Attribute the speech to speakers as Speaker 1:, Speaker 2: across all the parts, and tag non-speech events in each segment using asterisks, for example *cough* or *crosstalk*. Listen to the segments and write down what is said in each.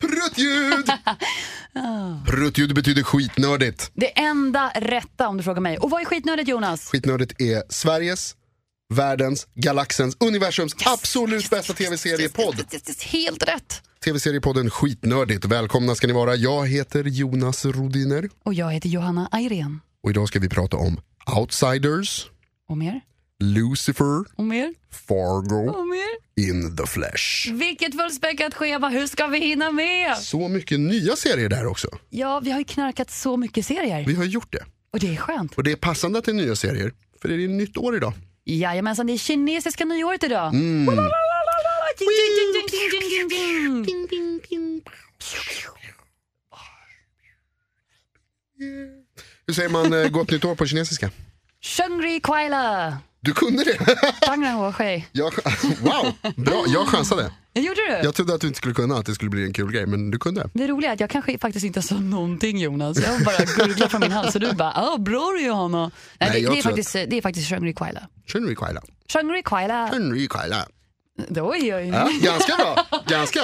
Speaker 1: Pruttljud! Pruttljud betyder skitnördigt.
Speaker 2: Det enda rätta om du frågar mig. Och vad är skitnödigt Jonas?
Speaker 1: Skitnördigt är Sveriges, världens, galaxens, universums absolut bästa tv-seriepodd.
Speaker 2: Helt rätt.
Speaker 1: Tv-seriepodden Skitnördigt. Välkomna ska ni vara. Jag heter Jonas Rodiner
Speaker 2: Och jag heter Johanna Ayrén.
Speaker 1: och idag ska vi prata om Outsiders,
Speaker 2: Och mer?
Speaker 1: Lucifer,
Speaker 2: Och mer?
Speaker 1: Fargo,
Speaker 2: Och mer?
Speaker 1: In the Flesh.
Speaker 2: Vilket fullspäckat schema, hur ska vi hinna med?
Speaker 1: Så mycket nya serier där också.
Speaker 2: Ja, vi har ju knarkat så mycket serier.
Speaker 1: Vi har gjort det.
Speaker 2: Och det är skönt.
Speaker 1: Och det är passande att det är nya serier, för det är ju nytt år idag.
Speaker 2: Jajamensan, det är kinesiska nyåret idag. Ding, ding, ding, ding, ding, ding, ding.
Speaker 1: Hur säger man eh, gott nytt år på kinesiska?
Speaker 2: Shungri Kwaila.
Speaker 1: Du kunde det! *laughs*
Speaker 2: Tangra Huashe.
Speaker 1: Jag, wow, bra. Jag chansade.
Speaker 2: Gjorde du?
Speaker 1: Jag trodde att du inte skulle kunna, att det skulle bli en kul grej, men du kunde.
Speaker 2: Det roliga är att jag kanske faktiskt inte sa någonting Jonas. Jag bara gurglade från min hals och du bara ah, bra du Johanna. Nej,
Speaker 1: Nej,
Speaker 2: det,
Speaker 1: jag
Speaker 2: det, är
Speaker 1: tror
Speaker 2: faktiskt, det är faktiskt Shungri Kwaila.
Speaker 1: Shunri Kaila.
Speaker 2: Shungri Kwaila.
Speaker 1: Shunri Kaila.
Speaker 2: Det var ju
Speaker 1: Mm. Ja, ganska bra. Ganska.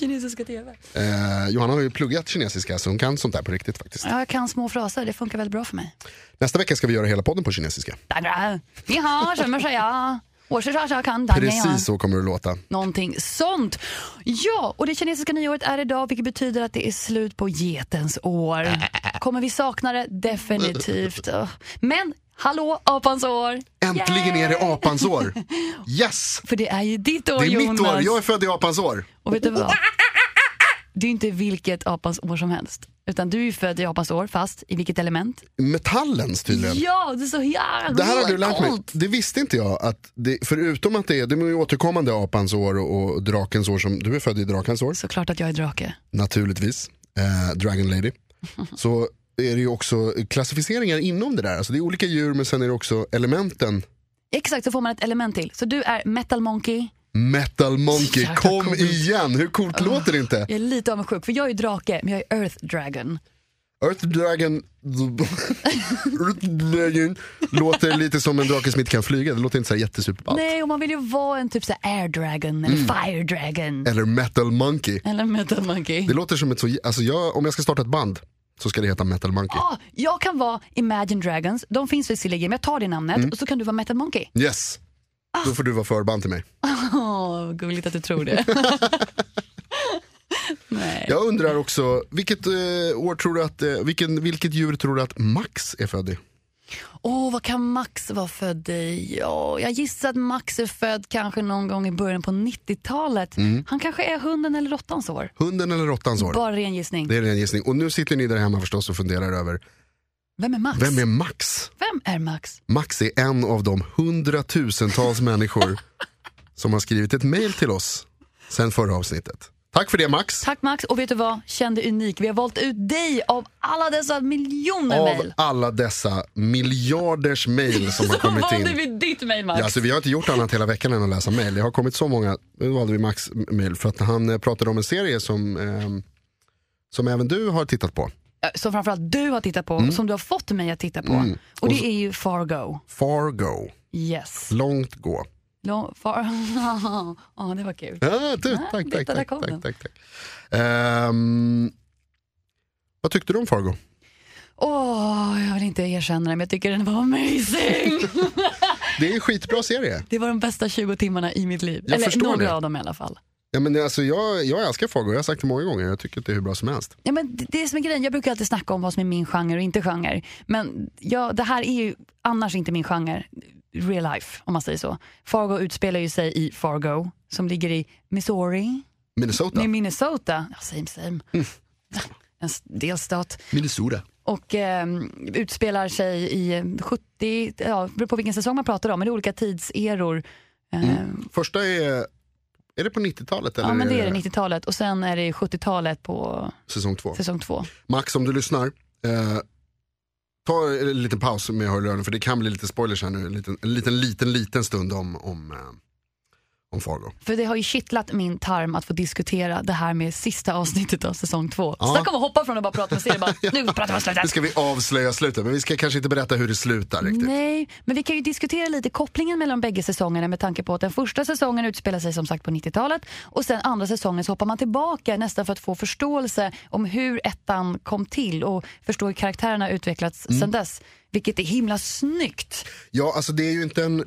Speaker 2: kinesiska tv.
Speaker 1: Eh, Johanna har ju pluggat kinesiska, så hon kan sånt där på riktigt faktiskt.
Speaker 2: Ja, jag kan små fraser, det funkar väldigt bra för mig.
Speaker 1: Nästa vecka ska vi göra hela podden på kinesiska.
Speaker 2: Ni har som jag säger. Och så jag kan danga, ja.
Speaker 1: Precis så kommer det låta.
Speaker 2: Någonting sånt. Ja, och det kinesiska nyåret är idag vilket betyder att det är slut på getens år. Kommer vi sakna det?
Speaker 1: *laughs*
Speaker 2: Definitivt. Ugh. Men hallå apans år!
Speaker 1: Äntligen är det apans år.
Speaker 2: *laughs*
Speaker 1: Yes!
Speaker 2: För det är ju ditt år
Speaker 1: Det är mitt
Speaker 2: Jonas.
Speaker 1: år. Jag är född i apans år.
Speaker 2: Och vet
Speaker 1: *laughs*
Speaker 2: du vad? Det är inte vilket apans år som helst. Utan du är ju född i apans år, fast i vilket element?
Speaker 1: Metallens tydligen.
Speaker 2: Ja, det är så jävla
Speaker 1: Det här har du lärt mig.
Speaker 2: coolt.
Speaker 1: Det visste inte jag. Att det, förutom att det är, det är ju återkommande apans år och, och drakens år som du är född i drakens år.
Speaker 2: Såklart att jag är drake.
Speaker 1: naturligtvis, eh, Dragon
Speaker 2: *laughs*
Speaker 1: Lady, så är det ju också klassificeringar inom det där. Alltså det är olika djur men sen är det också elementen.
Speaker 2: Exakt, så får man ett element till. Så du är metal monkey.
Speaker 1: Metal Monkey,
Speaker 2: Jäkla
Speaker 1: kom
Speaker 2: coolt.
Speaker 1: igen! Hur
Speaker 2: Ah.
Speaker 1: coolt låter det inte?
Speaker 2: Jag är lite avundsjuk, för jag är drake, men jag är earth dragon.
Speaker 1: Earth Dragon, Earth Dragon låter lite som en drake som inte kan flyga. Det låter inte så här jättesuperballt.
Speaker 2: Nej, och man vill ju vara en typ så här air dragon eller
Speaker 1: Mm.
Speaker 2: fire dragon.
Speaker 1: Eller Metal Monkey.
Speaker 2: Eller metal monkey.
Speaker 1: Det låter som ett så... Alltså jag, om jag ska starta ett band så ska det heta Metal Monkey.
Speaker 2: Ah, jag kan vara Imagine Dragons, de finns visserligen, men jag tar det namnet
Speaker 1: Mm.
Speaker 2: och så kan du vara metal monkey.
Speaker 1: Yes!
Speaker 2: Ah.
Speaker 1: Då får du vara förband till mig.
Speaker 2: *laughs* Åh, gulligt att du tror *laughs* det. Nej.
Speaker 1: Jag undrar också, vilket, eh, år tror du att, eh, vilken, vilket djur tror du att Max är född i?
Speaker 2: Åh, vad kan Max vara född i? Ja, jag gissar att Max är född kanske någon gång i början på 90-talet. Han kanske är hunden eller råttans år.
Speaker 1: Hunden eller råttans år?
Speaker 2: Bara ren gissning.
Speaker 1: Mm. Det är en gissning. Och nu sitter ni där hemma förstås och funderar över,
Speaker 2: Vem är Max?
Speaker 1: vem är Max?
Speaker 2: Vem är Max?
Speaker 1: Max är en av de hundratusentals
Speaker 2: *laughs*
Speaker 1: människor som har skrivit ett mejl till oss sen förra avsnittet. Tack för det Max!
Speaker 2: Tack Max, och vet du vad? Känn dig unik. Vi har valt ut dig av alla dessa miljoner
Speaker 1: Av
Speaker 2: mejl.
Speaker 1: alla dessa miljarders mejl
Speaker 2: *laughs*
Speaker 1: som har
Speaker 2: Så
Speaker 1: kommit in.
Speaker 2: valde vi ditt mejl Max.
Speaker 1: Ja, alltså, vi har inte gjort annat hela veckan än att läsa mejl. Det har kommit så många. Nu valde vi Max mejl för att han eh, pratade om en serie som, ehm, som även du har tittat på.
Speaker 2: Ja, Som framförallt du har tittat på,
Speaker 1: Mm.
Speaker 2: som du har fått mig att titta på. Och det är ju Fargo.
Speaker 1: Fargo,
Speaker 2: Yes.
Speaker 1: långt gå.
Speaker 2: Lo- Far... *laughs* Ja, det var kul.
Speaker 1: Ah, du,
Speaker 2: Ah,
Speaker 1: tack,
Speaker 2: titta,
Speaker 1: tack,
Speaker 2: där
Speaker 1: tack,
Speaker 2: kom
Speaker 1: tack,
Speaker 2: den.
Speaker 1: tack, tack. Ehm, vad tyckte du om Fargo?
Speaker 2: Åh, jag vill inte erkänna det, men jag tycker den
Speaker 1: *laughs*
Speaker 2: var amazing.
Speaker 1: Det är en skitbra serie.
Speaker 2: Det var de bästa 20 timmarna i mitt liv.
Speaker 1: Jag
Speaker 2: Eller
Speaker 1: förstår
Speaker 2: några
Speaker 1: det.
Speaker 2: av dem i alla fall.
Speaker 1: Ja, men, det- alltså, jag, jag älskar Fargo, jag har sagt det många gånger. Jag tycker att det är hur bra som helst.
Speaker 2: Ja, men det- det är som är grejen, jag brukar alltid snacka om vad som är min genre och inte genre. Men ja, det här är ju annars inte min genre, real life om man säger så. Fargo utspelar ju sig i Fargo som ligger i Missouri,
Speaker 1: Minnesota.
Speaker 2: i Minnesota. Ja, same same.
Speaker 1: Mm.
Speaker 2: En s- delstat.
Speaker 1: Minnesota.
Speaker 2: och eh, utspelar sig i eh, 70, ja, beror på vilken säsong man pratar om, men det är olika tidseror. Eh,
Speaker 1: Första är Är det på 90-talet? Mm. Eller
Speaker 2: Ja, men det är det, 90-talet. Och sen är det 70-talet på
Speaker 1: Säsong två.
Speaker 2: säsong två.
Speaker 1: Max, om du lyssnar, eh, ta en liten paus med hörlurarna för det kan bli lite spoilers här nu. En liten, en liten, liten, liten stund om, om, eh, om Fargo.
Speaker 2: För det har ju kittlat min tarm att få diskutera det här med sista avsnittet av säsong två.
Speaker 1: Ja.
Speaker 2: Snacka om att hoppa från att bara prata med serien. Bara, Nu pratar vi om
Speaker 1: Nu
Speaker 2: slutet.
Speaker 1: ska vi avslöja slutet, men vi ska kanske inte berätta hur det slutar riktigt.
Speaker 2: Nej, men vi kan ju diskutera lite kopplingen mellan bägge säsongerna med tanke på att den första säsongen utspelar sig som sagt på 90-talet och sen andra säsongen så hoppar man tillbaka nästan för att få förståelse om hur ettan kom till och förstå hur karaktärerna har utvecklats sen dess. Vilket är himla snyggt.
Speaker 1: Ja, alltså det är ju inte en...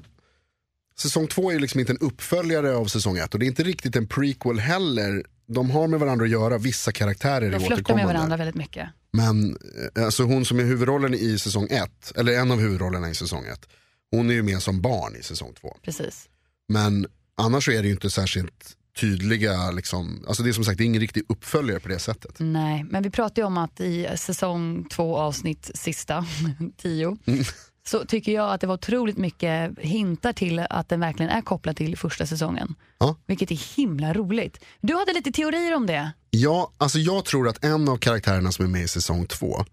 Speaker 1: Säsong två är ju liksom inte en uppföljare av säsong ett och det är inte riktigt en prequel heller. De har med varandra att göra, vissa karaktärer är
Speaker 2: De flörtar med
Speaker 1: återkommande.
Speaker 2: varandra väldigt mycket.
Speaker 1: Men eh, alltså hon som är huvudrollen i säsong ett, eller en av huvudrollerna i säsong ett, hon är ju med som barn i säsong två.
Speaker 2: Precis.
Speaker 1: Men annars så är det ju inte särskilt tydliga, liksom, alltså det är som sagt det är ingen riktig uppföljare på det sättet.
Speaker 2: Nej, men vi pratade ju om att i säsong två avsnitt sista, *laughs* tio,
Speaker 1: Mm.
Speaker 2: så tycker jag att det var otroligt mycket hintar till att den verkligen är kopplad till första säsongen.
Speaker 1: Ja.
Speaker 2: Vilket är himla roligt. Du hade lite teorier om det.
Speaker 1: Ja, alltså jag tror att en av karaktärerna som är med i säsong två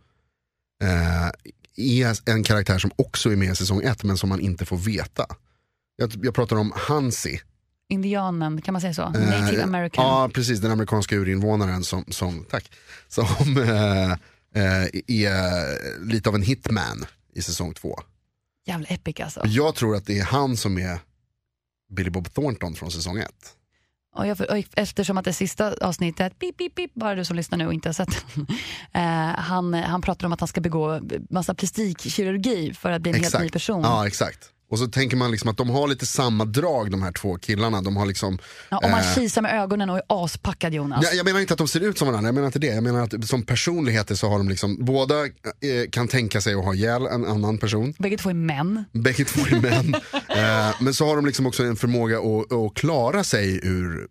Speaker 1: eh, är en karaktär som också är med i säsong ett men som man inte får veta. Jag, jag pratar om Hansi.
Speaker 2: Indianen, kan man säga så?
Speaker 1: Eh,
Speaker 2: Native American.
Speaker 1: Ja, precis. Den amerikanska urinvånaren som, som, tack, som *laughs* eh, eh, är lite av en hitman i säsong två.
Speaker 2: Jävla epic alltså.
Speaker 1: Jag tror att det är han som är Billy Bob Thornton från säsong ett.
Speaker 2: Och jag, och eftersom att det sista avsnittet, pip, pip, pip, bara du som lyssnar nu och inte har sett den. *laughs* eh, han, han pratar om att han ska begå massa plastikkirurgi för att bli en helt ny person.
Speaker 1: Ja, exakt. Och så tänker man liksom att de har lite samma drag de här två killarna. De har liksom,
Speaker 2: Ja, och man
Speaker 1: eh,
Speaker 2: kisar med ögonen och är aspackad Jonas.
Speaker 1: jag, jag menar inte att de ser ut som varandra, jag menar inte det. Jag menar att som personligheter så har de liksom, båda eh, kan tänka sig att ha ihjäl en annan person.
Speaker 2: Bägge två är män.
Speaker 1: Bägge två är
Speaker 2: *laughs*
Speaker 1: män. eh, men så har de liksom också en förmåga att, att klara sig ur eh,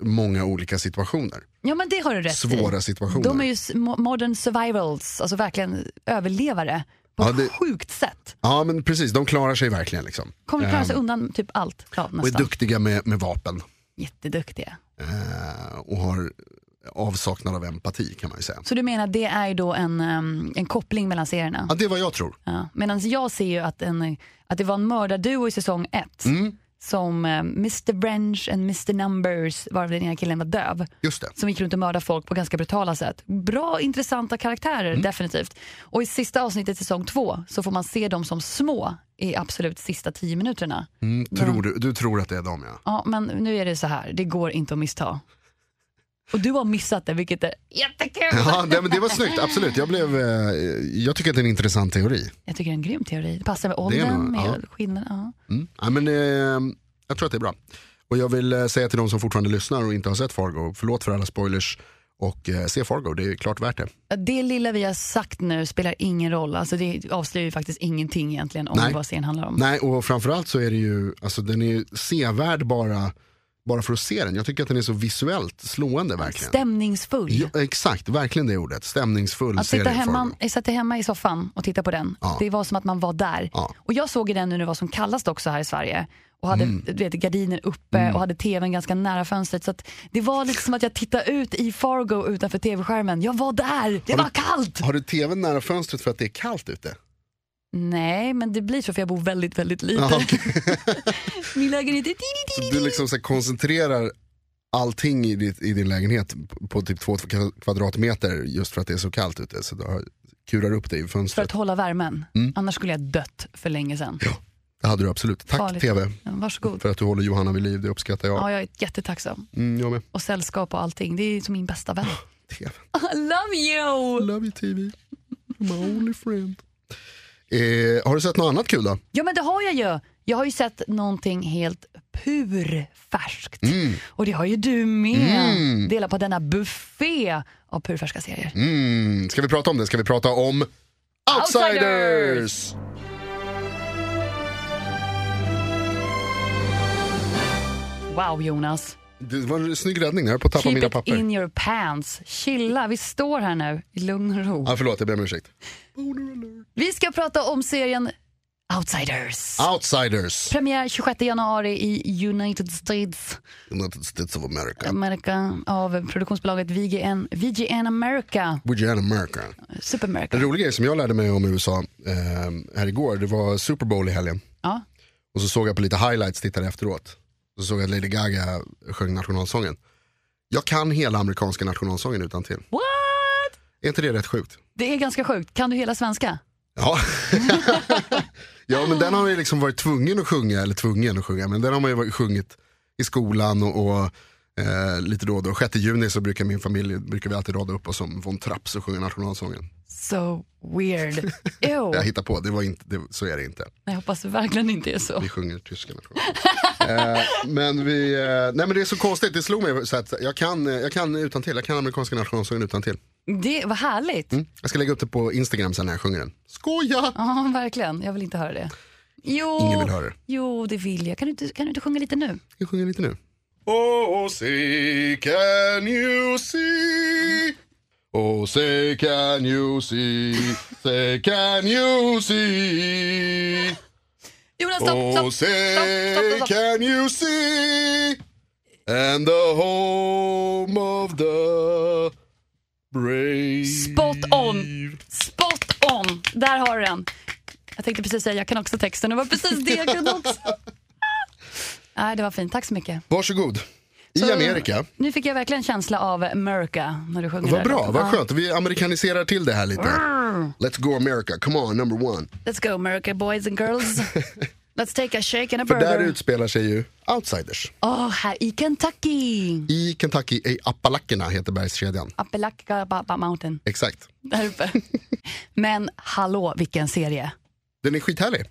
Speaker 1: många olika situationer.
Speaker 2: Ja men det har du rätt
Speaker 1: Svåra
Speaker 2: i.
Speaker 1: situationer.
Speaker 2: De är ju s- mo- modern survivals, alltså verkligen överlevare på
Speaker 1: Ja,
Speaker 2: ett
Speaker 1: det-
Speaker 2: sjukt sätt.
Speaker 1: Ja men precis, de klarar sig verkligen liksom.
Speaker 2: Kommer att klara sig undan typ allt. Ja,
Speaker 1: Och är
Speaker 2: nästan.
Speaker 1: duktiga med, med vapen.
Speaker 2: Jätteduktiga.
Speaker 1: Eh, och har avsaknad av empati kan man ju säga.
Speaker 2: Så du menar det är ju då en, ehm, en koppling mellan serierna?
Speaker 1: Ja, det är vad jag tror.
Speaker 2: Ja. Medan jag ser ju att, en, att det var en mördarduo i säsong ett.
Speaker 1: Mm.
Speaker 2: Som eh, Mr Branch and Mr Numbers, varav den ena killen var döv.
Speaker 1: Just det.
Speaker 2: som gick runt och mördade folk på ganska brutala sätt. Bra, intressanta karaktärer,
Speaker 1: Mm.
Speaker 2: definitivt. Och i sista avsnittet säsong två så får man se dem som små i absolut sista tio minuterna.
Speaker 1: Mm, tror du, du tror att det är dem ja.
Speaker 2: Ja, men nu är det så här, det går inte att missta. Och du har missat det, vilket är jättekul!
Speaker 1: Ja, det, men det var snyggt, absolut. Jag, blev, eh, jag tycker att det är en intressant teori.
Speaker 2: Jag tycker det är en grym teori. Det passar med
Speaker 1: Det är
Speaker 2: åldern,
Speaker 1: nog-
Speaker 2: med
Speaker 1: ja.
Speaker 2: skillnaden. Ja.
Speaker 1: Mm. Ja, men, eh, jag tror att det är bra. Och jag vill eh, säga till de som fortfarande lyssnar och inte har sett Fargo, förlåt för alla spoilers och eh, se Fargo, det är klart värt det.
Speaker 2: Det lilla vi har sagt nu spelar ingen roll. Alltså det avslöjar ju faktiskt ingenting egentligen om
Speaker 1: Nej.
Speaker 2: vad serien handlar om.
Speaker 1: Nej, och framförallt så är det ju, alltså den är ju sevärd bara, bara för att se den. Jag tycker att den är så visuellt slående verkligen.
Speaker 2: Stämningsfull.
Speaker 1: Ja, exakt, verkligen det ordet. Stämningsfull
Speaker 2: Att
Speaker 1: serie
Speaker 2: sitta
Speaker 1: i
Speaker 2: hemma,
Speaker 1: Fargo.
Speaker 2: sitta hemma i soffan och titta på den,
Speaker 1: Ja.
Speaker 2: det var som att man var där.
Speaker 1: Ja.
Speaker 2: Och jag såg ju den nu när det var som kallast också här i Sverige. Och hade
Speaker 1: Mm.
Speaker 2: du vet, gardiner uppe och hade tvn ganska nära fönstret. Så att det var lite som att jag tittade ut i Fargo utanför tv-skärmen. Jag var där, det
Speaker 1: Har du-
Speaker 2: var kallt!
Speaker 1: Har du tvn nära fönstret för att det är kallt ute?
Speaker 2: Nej, men det blir så för jag bor väldigt, väldigt lite.
Speaker 1: Ja, okej.
Speaker 2: *laughs* Min lägenhet är...
Speaker 1: Så du liksom så här koncentrerar allting i, ditt, i din lägenhet på typ två kvadratmeter just för att det är så kallt ute. Så du har, kurar upp dig i
Speaker 2: För att
Speaker 1: fönstret.
Speaker 2: hålla värmen.
Speaker 1: Mm.
Speaker 2: Annars skulle jag dött för länge sedan.
Speaker 1: Ja, det hade du absolut. Tack
Speaker 2: Farligt.
Speaker 1: tv
Speaker 2: Ja, Varsågod.
Speaker 1: för att du håller Johanna vid liv, det uppskattar jag.
Speaker 2: Ja, jag är jättetacksam.
Speaker 1: Mm, jag med.
Speaker 2: Och sällskap och allting. Det är som min bästa vän.
Speaker 1: TV.
Speaker 2: I *laughs* love you!
Speaker 1: I love you tv, my only friend. Eh, har du sett något annat kul då?
Speaker 2: Ja men det har jag ju. Jag har ju sett någonting helt purfärskt.
Speaker 1: Mm.
Speaker 2: Och det har ju du med. Dela på denna buffé av purfärska serier.
Speaker 1: Mm, ska vi prata om det? Ska vi prata om Outsiders?
Speaker 2: Outsiders! Wow Jonas.
Speaker 1: Det var en snygg räddning, jag höll på att tappa
Speaker 2: Keep
Speaker 1: mina
Speaker 2: it
Speaker 1: papper.
Speaker 2: in your pants. Chilla, vi står här nu i lugn och ro.
Speaker 1: Ja, förlåt, jag ber om ursäkt.
Speaker 2: Vi ska prata om serien Outsiders.
Speaker 1: Outsiders.
Speaker 2: Premiär 26 januari i United States,
Speaker 1: United States of America.
Speaker 2: America, av produktionsbolaget VGN, VGN America,
Speaker 1: Would you America?
Speaker 2: Super
Speaker 1: En
Speaker 2: America.
Speaker 1: rolig grej som jag lärde mig om USA eh, här igår, det var Super Bowl i helgen.
Speaker 2: Ja.
Speaker 1: Och så såg jag på lite highlights, tittade efteråt. Så såg jag att Lady Gaga sjöng nationalsången. Jag kan hela amerikanska nationalsången utan till.
Speaker 2: What?
Speaker 1: Är inte det rätt sjukt?
Speaker 2: Det är ganska sjukt. Kan du hela svenska?
Speaker 1: Ja. *laughs* ja men den har man ju liksom varit tvungen att sjunga, eller tvungen att sjunga, men den har man ju varit- sjungit i skolan och, och eh, lite då och då. 6 juni så brukar min familj, brukar vi alltid rada upp oss som von Trapp och sjunga nationalsången.
Speaker 2: So
Speaker 1: *laughs*
Speaker 2: weird.
Speaker 1: Jag
Speaker 2: Ew.
Speaker 1: hittar på, det var inte, det, så är det inte.
Speaker 2: Jag hoppas verkligen inte är så.
Speaker 1: Vi sjunger tyska nationalsången. eh, men, vi, eh, nej, men det är så konstigt, det slog mig så att jag kan, eh, jag kan utan till. jag kan amerikanska nationalsången utan till.
Speaker 2: Det var härligt.
Speaker 1: Mm. Jag ska lägga upp det på Instagram sen när jag sjunger den. Skoja!
Speaker 2: Ja, verkligen. Jag vill inte höra det. Jo,
Speaker 1: Ingen vill höra det.
Speaker 2: jo det vill jag. Kan du inte, kan du inte sjunga lite nu?
Speaker 1: Vi sjunger lite nu. Oh say can you see Oh say can you see Say can you see
Speaker 2: Jonas, stopp,
Speaker 1: Oh
Speaker 2: stopp,
Speaker 1: say
Speaker 2: stopp, stopp, stopp.
Speaker 1: can you see And the home of the brave
Speaker 2: Spot on. Spot on. Där har du den. Jag tänkte precis säga, jag kan också texten. Det var precis det jag kunde också.
Speaker 1: *laughs*
Speaker 2: Nej, det var fint. Tack så mycket.
Speaker 1: Varsågod. I
Speaker 2: Så-
Speaker 1: Amerika.
Speaker 2: Nu fick jag verkligen känsla av America när du sjunger.
Speaker 1: Vad
Speaker 2: där.
Speaker 1: bra,
Speaker 2: Ja. Mm.
Speaker 1: vad skönt. Vi amerikaniserar till det här lite. Let's go America, come on, number one.
Speaker 2: Let's go America boys
Speaker 1: *laughs*
Speaker 2: and girls. Let's take a shake and a
Speaker 1: För där
Speaker 2: burger.
Speaker 1: utspelar sig ju Outsiders.
Speaker 2: Åh, här i Kentucky.
Speaker 1: I Kentucky, i Appalacherna heter bergskedjan.
Speaker 2: Appalachia Mountain.
Speaker 1: Exakt.
Speaker 2: Där uppe. Men hallå, vilken serie.
Speaker 1: Den är skithärlig.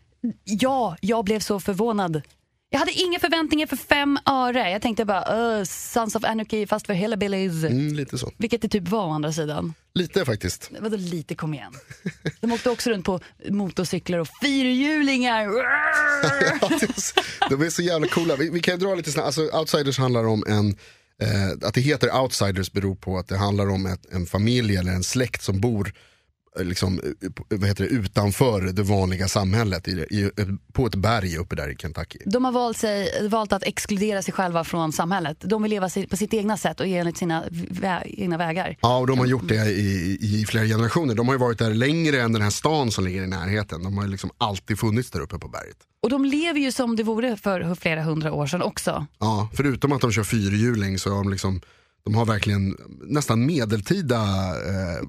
Speaker 2: Ja, jag blev så förvånad. Jag hade inga förväntningar för fem öre. Jag tänkte bara, uh, Sons of Anarchy fast för hillbillies.
Speaker 1: Mm, lite så.
Speaker 2: Vilket det typ var å andra sidan.
Speaker 1: Lite faktiskt.
Speaker 2: Vadå lite, kom igen. De åkte också runt på motorcyklar och fyrhjulingar.
Speaker 1: *laughs* De är så jävla coola. Vi, vi kan ju dra lite snabbt. Alltså, Outsiders handlar om en... Eh, att det heter Outsiders beror på att det handlar om ett, en familj eller en släkt som bor eh, liksom, eh, på- vad heter det, utanför det vanliga samhället. I, det- i, på ett berg uppe där i Kentucky.
Speaker 2: De har valt, sig, valt att exkludera sig själva från samhället. De vill leva si- på sitt egna sätt och enligt sina vä- egna vägar.
Speaker 1: Ja, och de har gjort det i, i flera generationer. De har ju varit där längre än den här stan som ligger i närheten. De har ju liksom alltid funnits där uppe på berget.
Speaker 2: Och de lever ju som det vore för flera hundra år sedan också.
Speaker 1: Ja, förutom att de kör fyrhjuling så har de liksom de har verkligen nästan medeltida eh,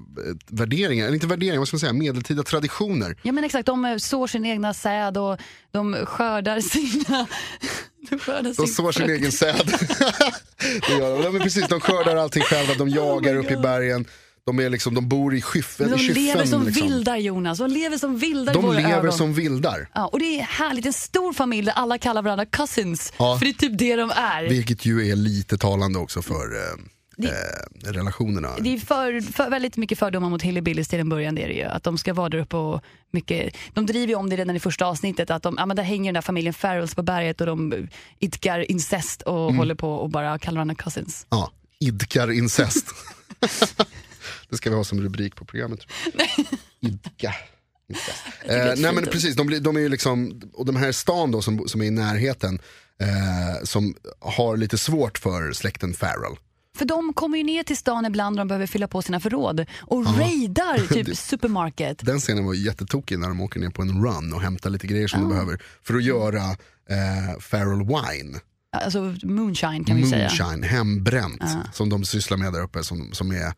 Speaker 1: värderingar, eller inte värderingar, vad ska man säga, medeltida traditioner.
Speaker 2: Ja men exakt, de eh, sår sin egna säd och de skördar *laughs* sina... De, skördar
Speaker 1: De
Speaker 2: sin
Speaker 1: sår
Speaker 2: *laughs*
Speaker 1: sin
Speaker 2: frukt.
Speaker 1: egen säd. *laughs* Det gör de. Ja, men precis, de skördar allting själva,
Speaker 2: Oh
Speaker 1: de jagar upp i bergen, de, är liksom, de bor i skyffen. i
Speaker 2: De
Speaker 1: skyffen,
Speaker 2: lever som
Speaker 1: liksom.
Speaker 2: vildar Jonas, de lever som vildar i
Speaker 1: De
Speaker 2: våra
Speaker 1: lever
Speaker 2: ögon.
Speaker 1: som vildar,
Speaker 2: Ja, och det är härligt, en stor familj där alla kallar varandra cousins.
Speaker 1: Ja.
Speaker 2: För det är typ det de är. Det,
Speaker 1: vilket ju är lite talande också för eh, eh, relationerna.
Speaker 2: är för, för, väldigt mycket fördomar mot hillbillies till en början. Det är det ju. Att de ska vara där uppe och mycket... De driver ju om det redan i första avsnittet. Att de, ja, men där hänger den där familjen Farrells på berget och de idkar incest och
Speaker 1: Mm.
Speaker 2: håller på och bara kallar varandra cousins.
Speaker 1: Ja, idkar incest. *laughs* det ska vi ha som rubrik på programmet. tror jag. Idka. incest. Eh, nej men precis, de, blir- de är ju liksom, och de här stan då som, som är i närheten, eh, som har lite svårt för släkten Farrell.
Speaker 2: För de kommer ju ner till stan ibland när de behöver fylla på sina förråd
Speaker 1: *laughs*
Speaker 2: och raidar typ supermarket.
Speaker 1: Den scenen var ju jättetokig när de åker ner på en run och hämtar lite grejer
Speaker 2: Ah.
Speaker 1: som de behöver för att göra eh, Farrell Wine,
Speaker 2: Alltså moonshine kan vi säga. Ah.
Speaker 1: moonshine, hembränt, som de sysslar med där uppe som, som är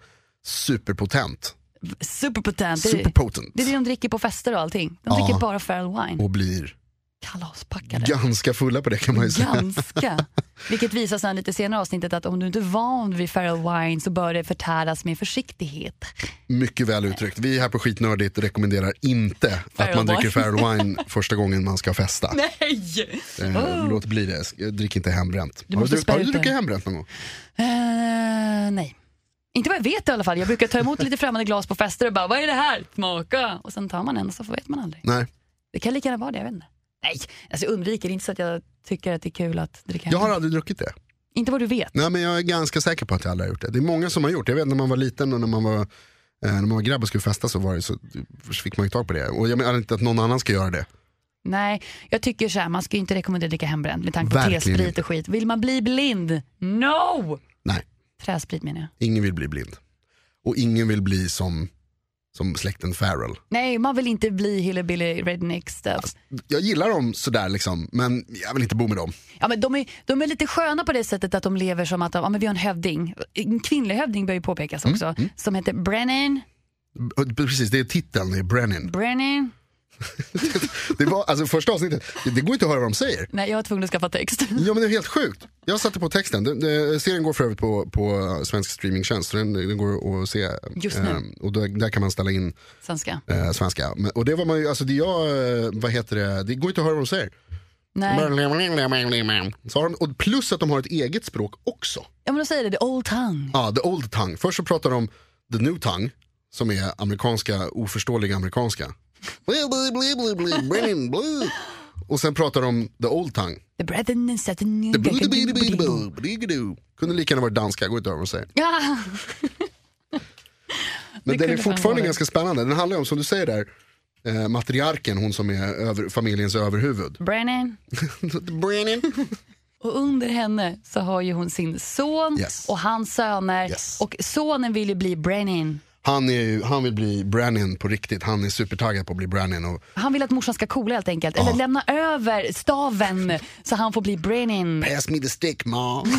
Speaker 1: superpotent,
Speaker 2: Superpotent. Det är,
Speaker 1: superpotent
Speaker 2: det är det de dricker på fester och allting. De
Speaker 1: Ja.
Speaker 2: dricker bara Feral Wine.
Speaker 1: och blir
Speaker 2: Kalaspackade.
Speaker 1: ganska fulla på det kan man ju säga.
Speaker 2: Ganska. Vilket visar sen lite senare i avsnittet att om du inte är van vid Feral Wine så bör det förtäras med försiktighet.
Speaker 1: Mycket väl uttryckt. Vi här på Skitnördigt rekommenderar inte att man
Speaker 2: wine.
Speaker 1: dricker Feral
Speaker 2: *laughs*
Speaker 1: Wine första gången man ska festa.
Speaker 2: Nej! Oh.
Speaker 1: Eh, Låt bli det, Sk- drick inte hembränt. har
Speaker 2: måste
Speaker 1: du, druck-
Speaker 2: spä
Speaker 1: har du
Speaker 2: ut det.
Speaker 1: druckit hembränt någon gång?
Speaker 2: Eh, nej. Inte vad jag vet i alla fall. Jag brukar ta emot lite främmande glas på fester och bara vad är det här? Smaka! Och sen tar man en och så vet man aldrig.
Speaker 1: Nej.
Speaker 2: Det kan lika gärna vara det, jag vet inte. Nej, alltså jag undviker det är inte så att jag tycker att det är kul att dricka.
Speaker 1: Jag har aldrig druckit det.
Speaker 2: Inte vad du vet.
Speaker 1: Nej men jag är ganska säker på att jag aldrig har gjort det. Det är många som har gjort det. Jag vet när man var liten och när man var, eh, när man var grabb och skulle festa så, var det, så fick man ju tag på det. Och jag menar inte att någon annan ska göra det.
Speaker 2: Nej, jag tycker så här, man ska ju inte rekommendera att dricka hembränt med tanke på
Speaker 1: Verkligen
Speaker 2: tesprit
Speaker 1: inte.
Speaker 2: och skit. Vill man bli blind? No!
Speaker 1: Nej,
Speaker 2: Träsprit menar jag.
Speaker 1: ingen vill bli blind. Och ingen vill bli som, som släkten Farrell.
Speaker 2: Nej, man vill inte bli hillbilly redneck stuff.
Speaker 1: Jag gillar dem sådär liksom, men jag vill inte bo med dem.
Speaker 2: Ja, men de, är, de är lite sköna på det sättet att de lever som att de, ja, men vi har en hövding. En kvinnlig hövding bör ju påpekas
Speaker 1: Mm,
Speaker 2: också. Som heter Brennan.
Speaker 1: Och Precis, det är titeln, det är Brennan.
Speaker 2: Brennan.
Speaker 1: Det var, alltså första avsnittet, det, det går inte att höra vad de säger.
Speaker 2: Nej, jag var tvungen att skaffa text. *laughs*
Speaker 1: Ja men det är helt sjukt. Jag satte på texten. Den, den, serien går för övrigt på, på svensk streamingtjänst. Så den, den går att se.
Speaker 2: Just nu.
Speaker 1: Ehm, och där, där kan man ställa in
Speaker 2: Svenska.
Speaker 1: eh, svenska. Men, och det var man ju, alltså det jag, eh, vad heter det, det går inte att höra vad de säger.
Speaker 2: Nej.
Speaker 1: Så har de, och plus att de har ett eget språk också.
Speaker 2: Ja, men de säger det, the old tongue.
Speaker 1: Ja, the old tongue. Först så pratar de om the new tongue, som är amerikanska, oförståelig amerikanska. Bli, bli, bli, bli, bli, bli, bli. Och sen pratar de om the old tongue.
Speaker 2: The brethren and southern...
Speaker 1: The bli, bli, bli, bli, bli, bli, bli. Kunde lika gärna varit danska, går inte över vad de säger.
Speaker 2: *laughs* Ja.
Speaker 1: Men
Speaker 2: Det
Speaker 1: den är
Speaker 2: kunde fan
Speaker 1: fortfarande
Speaker 2: vara.
Speaker 1: ganska spännande. Den handlar ju om, som du säger där, eh, matriarken, hon som är över, familjens överhuvud.
Speaker 2: Brennan.
Speaker 1: Brennan.
Speaker 2: Och under henne så har ju hon sin son
Speaker 1: Yes.
Speaker 2: och hans söner.
Speaker 1: Yes.
Speaker 2: Och sonen vill ju bli Brennan.
Speaker 1: Han, är ju, han vill bli Brannin på riktigt. Han är supertaggad på att bli Brannin. Och
Speaker 2: Han vill att morsan ska coola helt enkelt. Eller lämna över staven så han får bli Brennan.
Speaker 1: Pass me the stick
Speaker 2: *laughs*
Speaker 1: mom.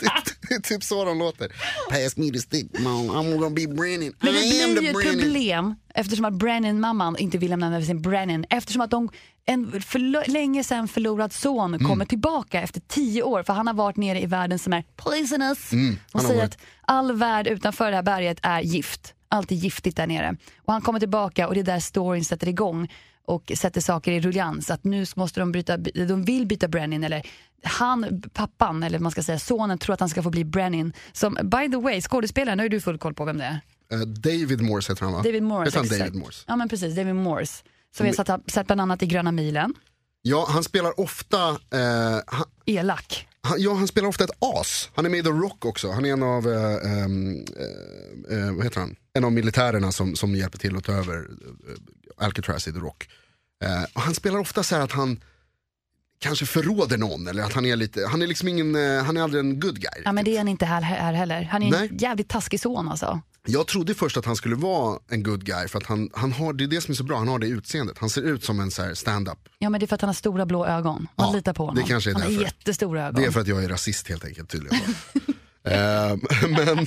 Speaker 1: det, är- det är typ så de låter. Pass me the stick mom. I'm gonna be Brannin.
Speaker 2: Men det
Speaker 1: I am
Speaker 2: blir
Speaker 1: the
Speaker 2: ju ett
Speaker 1: Brannin.
Speaker 2: problem eftersom att Brennan-mamman inte vill lämna över sin Brennan. Eftersom att de, en för lo- länge sedan förlorad son kommer tillbaka efter tio år. För han har varit nere i världen som är poisonous. och
Speaker 1: har
Speaker 2: säger
Speaker 1: varit-
Speaker 2: att all värld utanför det här berget är gift. Allt är giftigt där nere. Och han kommer tillbaka och det är där storyn sätter igång och sätter saker i ruljans. Att nu måste de bryta, de vill byta Brennan eller han, pappan, eller vad man ska säga sonen tror att han ska få bli Brennan. Som, by the way, skådespelaren, nu har ju du full koll på vem det är.
Speaker 1: Eh, David Morse heter han va?
Speaker 2: David Morse.
Speaker 1: Heter han
Speaker 2: exakt.
Speaker 1: David Morse? Mm.
Speaker 2: Ja, men precis. David Morse. Som vi har satt, sett bland annat i Gröna milen.
Speaker 1: Ja, han spelar ofta eh, han,
Speaker 2: Elak.
Speaker 1: han, ja, han spelar ofta ett as. Han är med i The Rock också. Han är en av, eh, ehm, eh, eh, vad heter han? En av militärerna som, som hjälper till att ta över eh, Alcatraz i The Rock. Eh, och han spelar ofta så här att han kanske förråder någon eller att han är lite, han är liksom ingen, eh, han är aldrig en good guy.
Speaker 2: Ja, men det är han inte här, här heller. Han är
Speaker 1: Nej.
Speaker 2: en jävligt taskig son alltså.
Speaker 1: Jag trodde först att han skulle vara en good guy för att han, han har, det är det som är så bra, han har det utseendet. Han ser ut som en så här stand-up.
Speaker 2: Ja, men det är för att han har stora blå ögon. Man
Speaker 1: Ja,
Speaker 2: litar på
Speaker 1: det
Speaker 2: honom.
Speaker 1: kanske är
Speaker 2: han har
Speaker 1: därför.
Speaker 2: jättestora ögon.
Speaker 1: Det är för att jag är rasist helt enkelt tydligen. *laughs* Eh, men,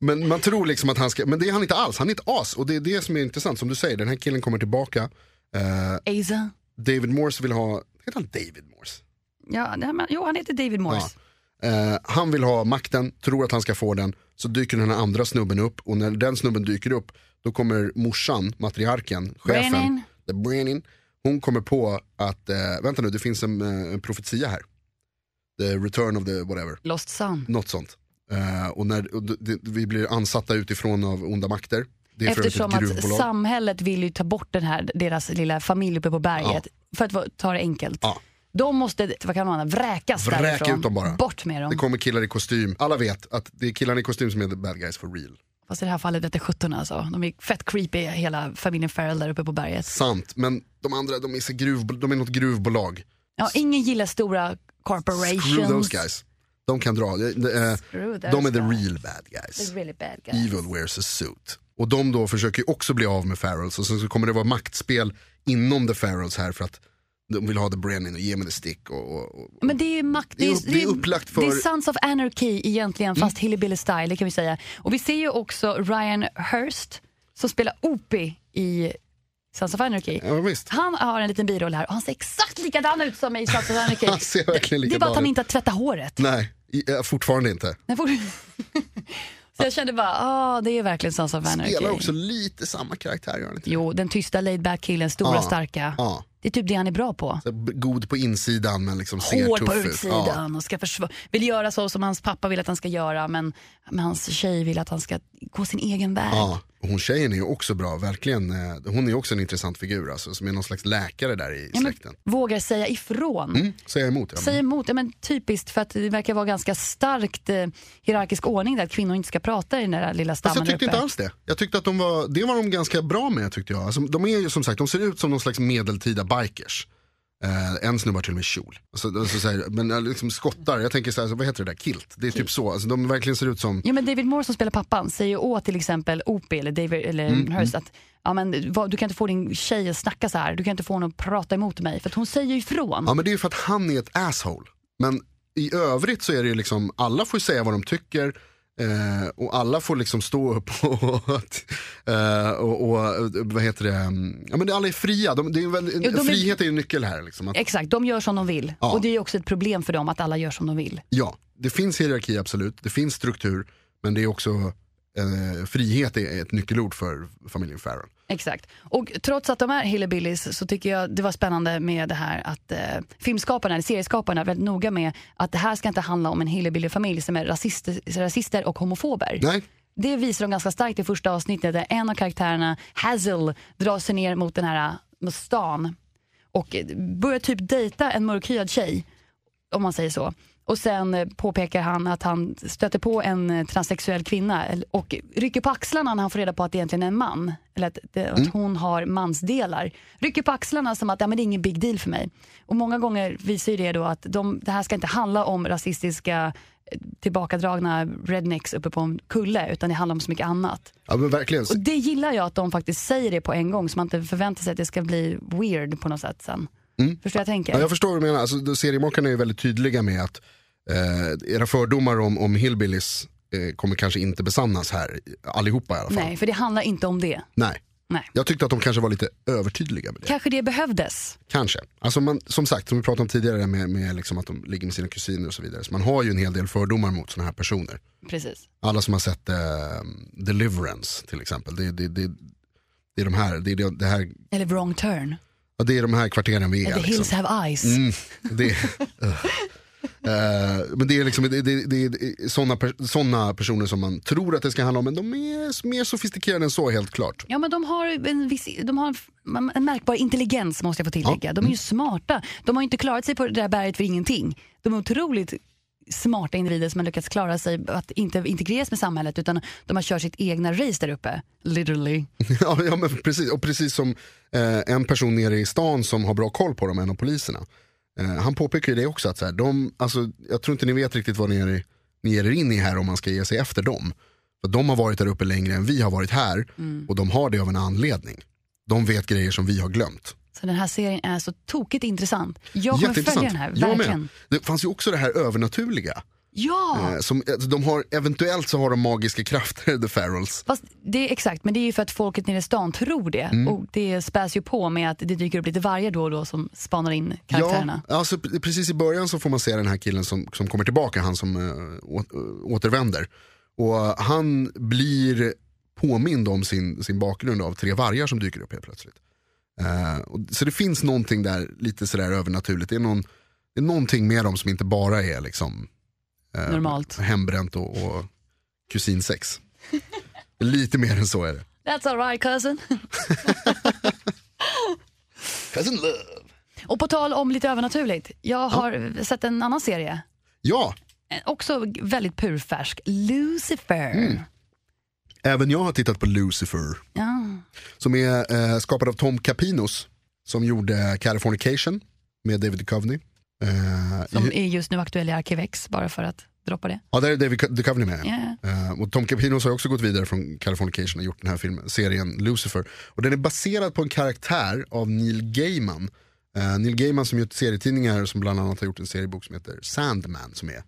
Speaker 1: men man tror liksom att han ska, men det är han inte alls, han är ett as. Och det är det som är intressant, som du säger, den här killen kommer tillbaka. Eh,
Speaker 2: Asa.
Speaker 1: David Morse vill ha, heter han David Morse?
Speaker 2: Ja, nej, men, jo, han heter David Morse.
Speaker 1: Eh, han vill ha makten, tror att han ska få den. Så dyker den här andra snubben upp och när den snubben dyker upp då kommer morsan, matriarken, chefen,
Speaker 2: Brennan.
Speaker 1: The Brennan, hon kommer på att, eh, vänta nu det finns en, eh, en profetia här. The return of the whatever,
Speaker 2: Lost son.
Speaker 1: något sånt. Eh, och när och d- d- vi blir ansatta utifrån av onda makter. Det är för övrigt
Speaker 2: Eftersom
Speaker 1: ett
Speaker 2: att
Speaker 1: gruvbolag.
Speaker 2: samhället vill ju ta bort den här, deras lilla familj uppe på berget. För att va- ta det enkelt.
Speaker 1: Ja.
Speaker 2: De måste, vad kan man vräkas
Speaker 1: Vräka
Speaker 2: därifrån.
Speaker 1: ut dem bara.
Speaker 2: Bort med dem.
Speaker 1: det kommer killar i kostym, alla vet att det är killarna i kostym som är the bad guys for real.
Speaker 2: Fast i det här fallet vete sjutton alltså. De är fett creepy hela familjen Farrell där uppe på berget.
Speaker 1: Sant, men de andra de är, så gruv, de är något gruvbolag.
Speaker 2: Ja, ingen gillar stora corporations.
Speaker 1: Screw those guys. De kan dra. De, de, eh,
Speaker 2: Screw those
Speaker 1: de är the
Speaker 2: guys.
Speaker 1: real bad guys.
Speaker 2: The really bad guys.
Speaker 1: Evil wears a suit. Och de då försöker ju också bli av med Farrells och sen så kommer det vara maktspel inom the Farrells här för att de vill ha the Brennan och ge mig the stick. Och, och, och.
Speaker 2: Men det är makt.
Speaker 1: Det är upp- det är upplagt för- Mm.
Speaker 2: Det är Sons of Anarchy egentligen, fast hillbilly style, det kan vi säga. Och vi ser ju också Ryan Hurst som spelar Opie i Sons of Anarchy.
Speaker 1: Ja, visst.
Speaker 2: Han har en liten biroll här och han ser exakt likadan ut som
Speaker 1: *laughs*
Speaker 2: i Sons of Anarchy.
Speaker 1: Han ser verkligen
Speaker 2: det är bara
Speaker 1: likadan
Speaker 2: att han
Speaker 1: ut.
Speaker 2: inte har tvättat håret.
Speaker 1: Nej, i- eh, fortfarande inte.
Speaker 2: Nej, får- *laughs* Så jag kände bara, ah, det är verkligen Sons of Anarchy.
Speaker 1: Spelar också lite samma karaktär, gör han inte?
Speaker 2: Jo, den tysta laidback killen, stora
Speaker 1: Ja,
Speaker 2: starka.
Speaker 1: ja.
Speaker 2: Det är typ det han är bra på.
Speaker 1: Så b- God på insidan men liksom ser
Speaker 2: Hård
Speaker 1: tuff
Speaker 2: på
Speaker 1: ut. Ja.
Speaker 2: utsidan och ska försvara. Vill göra så som hans pappa vill att han ska göra men, men hans tjej vill att han ska gå sin egen väg.
Speaker 1: Ja, och hon tjejen är ju också bra, verkligen. eh, Hon är också en intressant figur alltså, som är någon slags läkare där i
Speaker 2: Ja, men,
Speaker 1: släkten.
Speaker 2: vågar säga ifrån.
Speaker 1: Mm, säger jag emot. Ja.
Speaker 2: Säger emot, ja, men typiskt för att det verkar vara ganska starkt eh, hierarkisk ordning där att kvinnor inte ska prata i den där lilla
Speaker 1: Fast
Speaker 2: stammen
Speaker 1: jag tyckte
Speaker 2: uppe.
Speaker 1: inte alls det. Jag tyckte att de var, det var de ganska bra med tyckte jag. Alltså, de är ju som sagt, de ser ut som någon slags medeltida bikers. Eh, en snubbe har till och med kjol. Alltså, alltså, så här, men eh, liksom skottar, jag tänker så här, så vad heter det där, kilt? Det är typ så, alltså, de verkligen ser ut som,
Speaker 2: Ja, men David Moore som spelar pappan säger ju åt till exempel Opie eller, David, eller
Speaker 1: Mm,
Speaker 2: Hurst att ja, men, vad, du kan inte få din tjej att snacka så här, du kan inte få henne att prata emot mig för att hon säger ju ifrån.
Speaker 1: ja men det är ju för att han är ett asshole. Men i övrigt så är det ju liksom, alla får ju säga vad de tycker. Eh, och alla får liksom stå upp *laughs* och, eh, och, och eh, vad heter det, mm, ja men alla är fria. De, det är ju väl,
Speaker 2: de är-
Speaker 1: frihet är ju en nyckel här liksom. Att,
Speaker 2: Exakt, de gör som de vill.
Speaker 1: Ja.
Speaker 2: Och det är ju också ett problem för dem att alla gör som de vill.
Speaker 1: Ja, det finns hierarki absolut, det finns struktur, men det är också eh, frihet är ett nyckelord för familjen Farrell.
Speaker 2: Exakt. Och trots att de är hillbillies så tycker jag det var spännande med det här att eh, filmskaparna, eller serieskaparna, är väldigt noga med att det här ska inte handla om en hillbillyfamilj som är rasister, rasister och homofober.
Speaker 1: Nej,
Speaker 2: Det visar de ganska starkt i första avsnittet där en av karaktärerna, Hazel, drar sig ner mot den här äh, mot stan och eh, börjar typ dejta en mörkhyad tjej, om man säger så. Och sen eh, påpekar han att han stöter på en eh, transsexuell kvinna el- och rycker på axlarna när han får reda på att det egentligen är en man. Eller att, det,
Speaker 1: Mm.
Speaker 2: att hon har mansdelar. Rycker på axlarna som att ja, men det är ingen big deal för mig. Och många gånger visar ju det då att de, det här ska inte handla om rasistiska eh, tillbakadragna rednecks uppe på en kulle utan det handlar om så mycket annat.
Speaker 1: ja, men verkligen.
Speaker 2: Och det gillar jag att de faktiskt säger det på en gång så man inte förväntar sig att det ska bli weird på något sätt sen. Förstår jag tänker?
Speaker 1: Mm. Ja, jag förstår vad du menar, alltså, då- seriemakarna är ju väldigt tydliga med att eh, era fördomar om, om hillbillies eh, kommer kanske inte besannas här, allihopa i alla fall.
Speaker 2: Nej, för det handlar inte om det.
Speaker 1: Nej.
Speaker 2: Nej.
Speaker 1: Jag tyckte att de kanske var lite övertydliga med det.
Speaker 2: Kanske det behövdes.
Speaker 1: Kanske. Alltså man, som sagt, som vi pratade om tidigare med, med liksom att de ligger med sina kusiner och så vidare. Så man har ju en hel del fördomar mot sådana här personer.
Speaker 2: Precis.
Speaker 1: Alla som har sett eh, Deliverance till exempel. Det, det, det, det, är de här, det, är det, det, här,
Speaker 2: Eller wrong turn.
Speaker 1: ja, det är de här kvarteren vi är.
Speaker 2: The hills
Speaker 1: Liksom.
Speaker 2: have eyes.
Speaker 1: Mm, det, *laughs* Eh, men det är, liksom, det, det, det är sådana, per, såna personer som man tror att det ska handla om. Men de är mer sofistikerade än så helt klart. *laughs*
Speaker 2: Ja, men de har, en viss, de har en f- en märkbar intelligens måste jag få tillägga. De är
Speaker 1: Mm.
Speaker 2: ju smarta. De har ju inte klarat sig på det där berget för ingenting. De är otroligt smarta individer som har lyckats klara sig att inte integreras med samhället utan de har kört sitt egna race där uppe. Literally.
Speaker 1: ja, ja, men precis. Och precis som eh, en person nere i stan som har bra koll på dem, en av poliserna. Eh, han påpekar ju det också, att så här, de, alltså, jag tror inte ni vet riktigt vad ni ger, ni ger er in i här om man ska ge sig efter dem. För de har varit där uppe längre än vi har varit här och de har det av en anledning. De vet grejer som vi har glömt.
Speaker 2: Så den här serien är så tokigt intressant. Jag kommer följa den här,
Speaker 1: Jag
Speaker 2: verkligen.
Speaker 1: med. Det fanns ju också det här övernaturliga.
Speaker 2: Ja!
Speaker 1: Eh, som, alltså, de har, eventuellt så har de magiska krafter, *laughs* the Farrells.
Speaker 2: Fast det är exakt, men det är ju för att folket nere i stan tror det. Och det späs ju på med att det dyker upp lite vargar då och då som spanar in karaktärerna.
Speaker 1: Ja, alltså, p- precis i början så får man se den här killen som, som kommer tillbaka, han som eh, å, återvänder. Och eh, han blir påmind om sin, sin bakgrund av tre vargar som dyker upp helt plötsligt. Eh, och, så det finns någonting där lite sådär övernaturligt. Det är, någon, det är någonting med dem som inte bara är liksom eh,
Speaker 2: Normalt.
Speaker 1: hembränt och, och kusinsex. lite mer än så är det.
Speaker 2: That's alright cousin. *laughs*
Speaker 1: Cousin love.
Speaker 2: Och på tal om lite övernaturligt. Jag har sett en annan serie.
Speaker 1: Ja,
Speaker 2: Eh, Också väldigt purfärsk. Lucifer.
Speaker 1: även jag har tittat på Lucifer.
Speaker 2: Ja.
Speaker 1: Som är eh, skapad av Tom Capinos. Som gjorde Californication med David Duchovny. Eh,
Speaker 2: Som
Speaker 1: i-
Speaker 2: är just nu aktuell i Arkivex, bara för att droppa det.
Speaker 1: ja, där är David Duchovny med.
Speaker 2: Ja.
Speaker 1: Eh, och Tom Capinos har också gått vidare från Californication och gjort den här filmen, serien Lucifer. Och den är baserad på en karaktär av Neil Gaiman. Eh, Neil Gaiman som gjort serietidningar som bland annat har gjort en seriebok som heter Sandman som är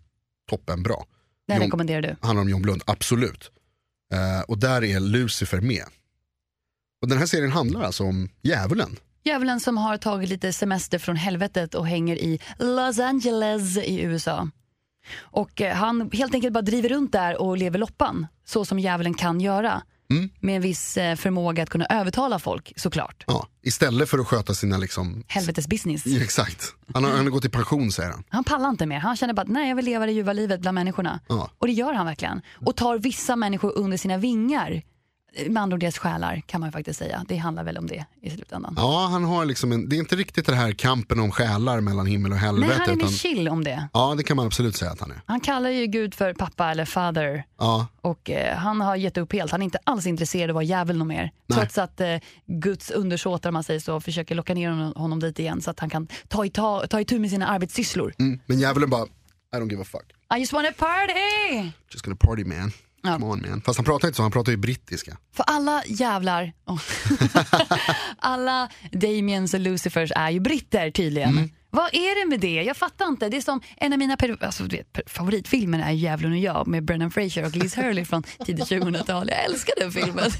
Speaker 1: toppenbra.
Speaker 2: Den
Speaker 1: Jo.
Speaker 2: rekommenderar du.
Speaker 1: handlar om John Blund, absolut. Eh, och där är Lucifer med. Och den här serien handlar alltså om djävulen.
Speaker 2: Djävulen som har tagit lite semester från helvetet och hänger i Los Angeles i USA. Och eh, han helt enkelt bara driver runt där och lever loppan, så som djävulen kan göra.
Speaker 1: Mm.
Speaker 2: Med en viss eh, förmåga att kunna övertala folk såklart.
Speaker 1: Ja, istället för att sköta sina liksom... *laughs*
Speaker 2: Helvetes business.
Speaker 1: Ja, exakt. Han har, han har gått i pension säger han.
Speaker 2: Han pallar inte mer. Han känner bara att nej, jag vill leva det ljuva livet bland människorna.
Speaker 1: Ja.
Speaker 2: Och det gör han verkligen. Och tar vissa människor under sina vingar. Eh, Med andra ord deras själar kan man ju faktiskt säga. Det handlar väl om det i slutändan.
Speaker 1: Ja, han har liksom en, det är inte riktigt den här kampen om själar mellan himmel och
Speaker 2: nej,
Speaker 1: helvete.
Speaker 2: han är mer
Speaker 1: utan,
Speaker 2: chill om det.
Speaker 1: ja, det kan man absolut säga att han är.
Speaker 2: Han kallar ju Gud för pappa eller father.
Speaker 1: Ja,
Speaker 2: Och eh, han har gett upp helt. Han är inte alls intresserad av att vara djävulen och mer. Trots att eh, Guds undersåtar, om man säger så, försöker locka ner honom, honom dit igen så att han kan ta, i, ta, ta itu med sina arbetssysslor.
Speaker 1: mm. Men djävulen bara, I don't give a fuck.
Speaker 2: I just wanna party!
Speaker 1: Just gonna party man.
Speaker 2: Ja.
Speaker 1: Come on man. Fast han pratar inte så, han pratar ju brittiska.
Speaker 2: För alla jävlar, Åh. *laughs* alla Damiens och Lucifers är ju britter tydligen.
Speaker 1: Mm.
Speaker 2: Vad är det med det? Jag fattar inte. Det är som en av mina per- alltså, du vet, per- favoritfilmer är Djävulen och jag med Brennan Fraser och Liz Hurley från tidigt 2000-tal. Jag älskar
Speaker 1: *laughs*
Speaker 2: den filmen.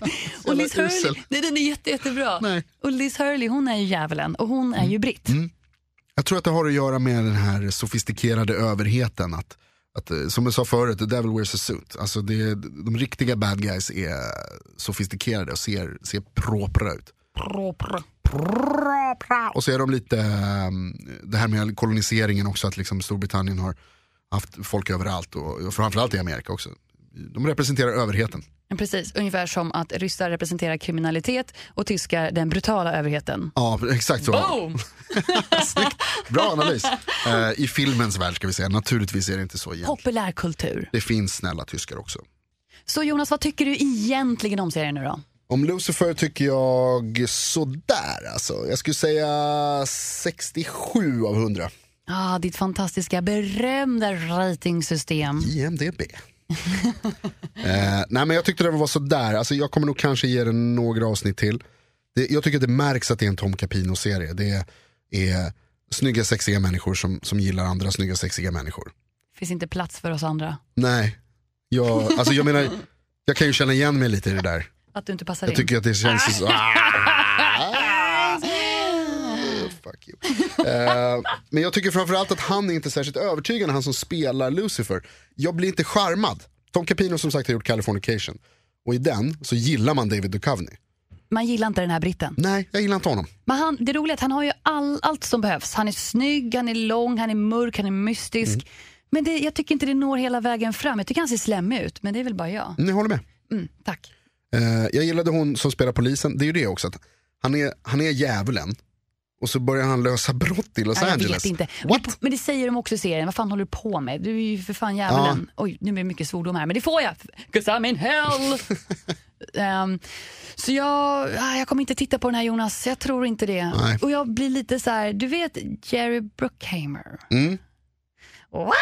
Speaker 2: Och Liz
Speaker 1: usel.
Speaker 2: Hurley, nej, den är jätte, jättebra.
Speaker 1: Nej. Mm.
Speaker 2: Och Liz Hurley hon är ju djävulen och hon är ju britt.
Speaker 1: Jag tror att det har att göra med den här sofistikerade överheten. Att, att, eh, som jag sa förut, the devil wears a suit. Alltså det, de riktiga bad guys är sofistikerade och ser, ser propra ut. Propra. Och så är de lite, eh, det här med koloniseringen också, att liksom Storbritannien har haft folk överallt och och framförallt i Amerika också. De representerar överheten.
Speaker 2: Men Precis, ungefär som att ryssar representerar kriminalitet och tyskar den brutala överheten.
Speaker 1: Ja, exakt så.
Speaker 2: Boom!
Speaker 1: Snyggt. Bra analys. Eh, I filmens värld ska vi säga, naturligtvis är det inte så egentligen.
Speaker 2: Populärkultur.
Speaker 1: Det finns snälla tyskar också.
Speaker 2: Så Jonas, vad tycker du egentligen om serien nu då?
Speaker 1: Om Lucifer tycker jag sådär alltså. Jag skulle säga 67 av 100.
Speaker 2: Ah, ditt fantastiska berömda ratingsystem.
Speaker 1: IMDB. eh, nej men jag tyckte den var sådär. Alltså, jag kommer nog kanske ge den några avsnitt till. Det, jag tycker att det märks att det är en Tom Capino-serie. Det är snygga sexiga människor som, som gillar andra snygga sexiga människor.
Speaker 2: Finns inte plats för oss andra.
Speaker 1: Nej, jag, alltså, jag menar, jag kan ju känna igen mig lite i det där.
Speaker 2: Att du inte passar
Speaker 1: Jag
Speaker 2: in.
Speaker 1: tycker att det känns så...
Speaker 2: Ah.
Speaker 1: Ah. Fuck you. Eh, men jag tycker framförallt att han är inte särskilt övertygande, han som spelar Lucifer. Jag blir inte charmad. Tom Capino som sagt har gjort Californication. Och i den så gillar man David Duchovny.
Speaker 2: Man gillar inte den här britten.
Speaker 1: Nej, jag gillar inte honom.
Speaker 2: Men han, det roliga är att han har ju all, allt som behövs. Han är snygg, han är lång, han är mörk, han är mystisk.
Speaker 1: Mm.
Speaker 2: Men det, jag tycker inte det når hela vägen fram. Jag tycker han ser slemmig ut, men det är väl bara jag.
Speaker 1: Ni håller med.
Speaker 2: Mm, tack.
Speaker 1: Eh, jag gillade hon som spelar polisen, det är ju det också. Att han, är, han är djävulen och så börjar han lösa brott i Los
Speaker 2: Nej, jag
Speaker 1: Angeles.
Speaker 2: vet inte.
Speaker 1: What?
Speaker 2: Men det säger de också i serien. Vad fan håller du på med? Du är ju för fan djävulen. Oj, nu blir det mycket svordom här. Men det får jag. 'Cause I'm
Speaker 1: *laughs*
Speaker 2: in hell. Ehm, så jag, ah, jag kommer inte titta på den här Jonas. Jag tror inte det.
Speaker 1: Nej.
Speaker 2: Och jag blir lite så här. Du vet Jerry Bruckheimer?
Speaker 1: Mm.
Speaker 2: Wow,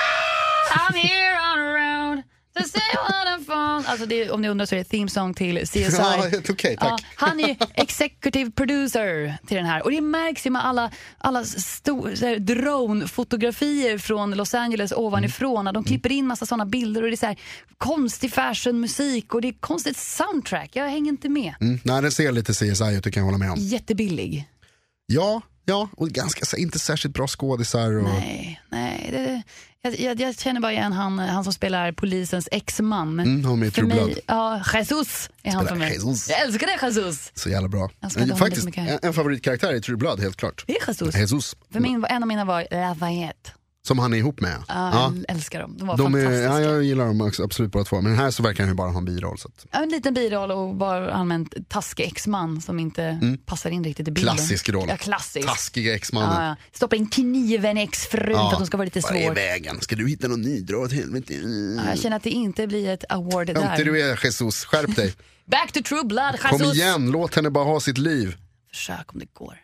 Speaker 2: I'm here on the road. To say what I'm from. Alltså det, om ni undrar så är det theme
Speaker 1: *laughs*
Speaker 2: song till CSI.
Speaker 1: Ja, Okej, tack.
Speaker 2: Ja, han är ju executive producer till den här. Och det märks ju med alla, alla stor- så här drone-fotografier från Los Angeles ovanifrån.
Speaker 1: Mm.
Speaker 2: De klipper in massa såna bilder och det är så här konstig fashion-musik och det är konstigt soundtrack. Jag hänger inte med.
Speaker 1: Mm, nej, den ser lite CSI ut, det kan jag hålla med om.
Speaker 2: Jättebillig.
Speaker 1: Ja, ja och ganska, så- inte särskilt bra skådisar. Och,
Speaker 2: Nej, nej. Det, jag, jag, jag känner bara igen han, han som spelar polisens exman.
Speaker 1: Mm, han med i
Speaker 2: För
Speaker 1: True
Speaker 2: mig-
Speaker 1: Blood.
Speaker 2: Ja, Jesus är han
Speaker 1: Spelar
Speaker 2: för mig.
Speaker 1: Jesus.
Speaker 2: Jag älskar det, Jesus.
Speaker 1: Så jävla bra.
Speaker 2: Jag ska inte
Speaker 1: Eh,
Speaker 2: hålla
Speaker 1: Faktiskt
Speaker 2: med
Speaker 1: en,
Speaker 2: mycket.
Speaker 1: en favoritkaraktär i True Blood, helt klart.
Speaker 2: Det är Jesus.
Speaker 1: Jesus,
Speaker 2: För min, en av mina var Lafayette.
Speaker 1: som han är ihop med.
Speaker 2: Ja,
Speaker 1: Ja.
Speaker 2: Jag älskar dem. De var
Speaker 1: De är, ja,
Speaker 2: fantastiska.
Speaker 1: jag gillar dem också, absolut båda två, men här så verkar han ju bara ha en biroll. Så att,
Speaker 2: Ja, En liten biroll och bara använt taskig exman som inte passar in riktigt i bilden.
Speaker 1: Mm. klassisk roll.
Speaker 2: Ja, klassisk.
Speaker 1: Taskiga exmannen.
Speaker 2: Ja, ja. Stoppa in kniven i exfrun för att hon ska vara lite
Speaker 1: Vad är
Speaker 2: svår.
Speaker 1: vägen? Ska du hitta någon ny? Dra åt helvete.
Speaker 2: Ja, jag känner att det inte blir ett award
Speaker 1: Inte
Speaker 2: där.
Speaker 1: du är Jesus, skärp
Speaker 2: *laughs*
Speaker 1: dig.
Speaker 2: Back to true blood, Jesus.
Speaker 1: Kom igen, låt henne bara ha sitt liv.
Speaker 2: Försök om det går.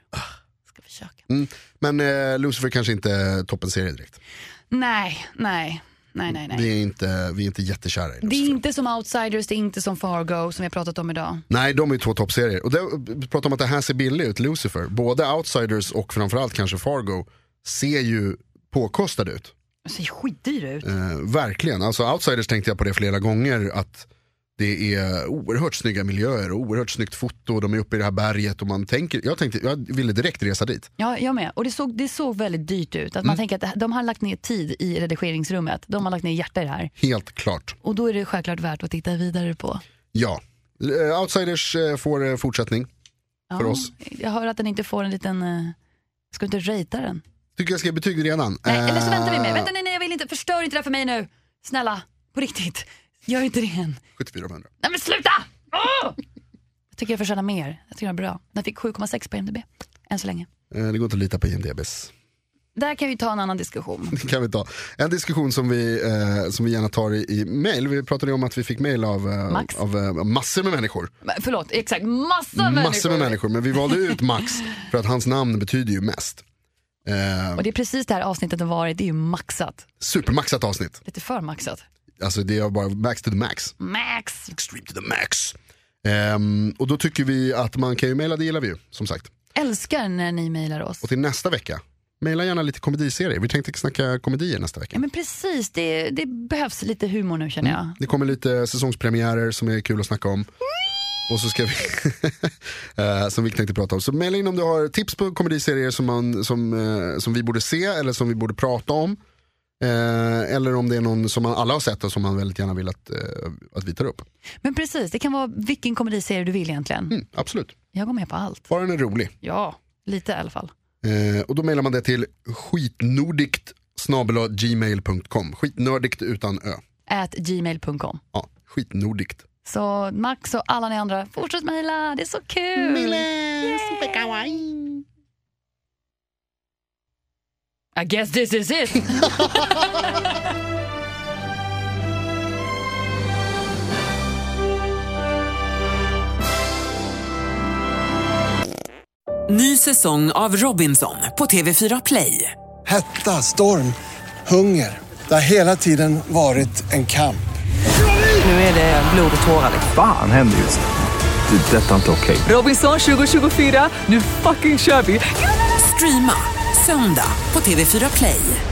Speaker 2: Ska försöka.
Speaker 1: Mm. Men eh, Lucifer kanske inte är toppenserie direkt.
Speaker 2: Nej, nej, nej, nej. nej.
Speaker 1: Vi är inte, vi är inte jättekära i
Speaker 2: Det
Speaker 1: Lucifer.
Speaker 2: är inte som Outsiders, det är inte som Fargo som vi har pratat om idag.
Speaker 1: Nej, de är ju två toppserier. Och det, vi pratar om att det här ser billigt ut, Lucifer. Både Outsiders och framförallt kanske Fargo ser ju påkostade ut.
Speaker 2: Det ser skitdyr ut.
Speaker 1: Eh, verkligen. Alltså Outsiders tänkte jag på det flera gånger. Att det är oerhört snygga miljöer och oerhört snyggt foto. De är uppe i det här berget och man tänker, jag, tänkte, jag ville direkt resa dit.
Speaker 2: Ja, jag med. Och det såg, det såg väldigt dyrt ut. Att Man
Speaker 1: Mm.
Speaker 2: tänker att det här- de har lagt ner tid i redigeringsrummet. De har lagt ner hjärta i det här.
Speaker 1: Helt klart.
Speaker 2: Och då är det självklart värt att titta vidare på.
Speaker 1: Ja. Eh, Outsiders eh, får eh, fortsättning.
Speaker 2: Ja,
Speaker 1: För oss.
Speaker 2: Jag hör att den inte får en liten... eh, Ska du inte rejta den?
Speaker 1: Tycker jag ska ge betyg redan.
Speaker 2: Nej, eller så väntar vi med.
Speaker 1: Eh,
Speaker 2: Vänta, nej, nej, jag vill inte. Förstör inte det här för mig nu. Snälla, på riktigt. Gör inte det igen.
Speaker 1: 74 av 100.
Speaker 2: Nej men sluta! Jag tycker jag förtjänar mer. Jag tycker den är bra. Den fick 7,6 på IMDB. Än så länge.
Speaker 1: Eh, Det går inte att lita på IMDBs.
Speaker 2: Där kan vi ta en annan diskussion.
Speaker 1: Det kan vi ta. En diskussion som vi, eh, som vi gärna tar i, i mail. Vi pratade ju om att vi fick mail av, eh,
Speaker 2: Max.
Speaker 1: av eh, massor med människor.
Speaker 2: Men, förlåt, exakt. Massa människor.
Speaker 1: Massor med människor. Men vi valde ut Max för att hans namn betyder ju mest. Eh,
Speaker 2: Och det är precis det här avsnittet har varit. Det är ju maxat.
Speaker 1: supermaxat avsnitt.
Speaker 2: Lite för maxat.
Speaker 1: Alltså det är bara max to the max.
Speaker 2: Max!
Speaker 1: Extreme to the max. Ehm, och då tycker vi att man kan ju mejla, det gillar vi ju som sagt.
Speaker 2: Älskar när ni mejlar oss.
Speaker 1: Och till nästa vecka, mejla gärna lite komediserier. Vi tänkte snacka komedier nästa vecka.
Speaker 2: Ja men precis, det, det behövs lite humor nu känner jag.
Speaker 1: Det kommer lite säsongspremiärer som är kul att snacka om. Och så ska vi, *laughs* eh, som vi tänkte prata om. Så mejla in om du har tips på komediserier som, man, som, eh, som vi borde se eller som vi borde prata om. Eh, eller om det är någon som man alla har sett och som man väldigt gärna vill att, eh, att vi tar upp.
Speaker 2: Men precis, det kan vara vilken komediserie du vill egentligen.
Speaker 1: Mm, absolut,
Speaker 2: Jag går med på allt.
Speaker 1: bara den är rolig.
Speaker 2: Ja, lite i alla fall.
Speaker 1: Eh, och då mejlar man det till skitnordigt gmail.com. Skitnördigt utan ö.
Speaker 2: At gmail.com.
Speaker 1: Ja, skitnordigt.
Speaker 2: Så Max och alla ni andra, fortsätt mejla, det är så kul! I guess this is it!
Speaker 3: Ny säsong av Robinson på TV4 Play.
Speaker 4: Hetta, storm, hunger. Det har hela tiden varit en kamp.
Speaker 3: Nu är det blod och tårar.
Speaker 5: Fan händer just det. Det är detta inte okej.
Speaker 3: Robinson 2024, nu fucking kör vi! Streama söndag på TV4 Play.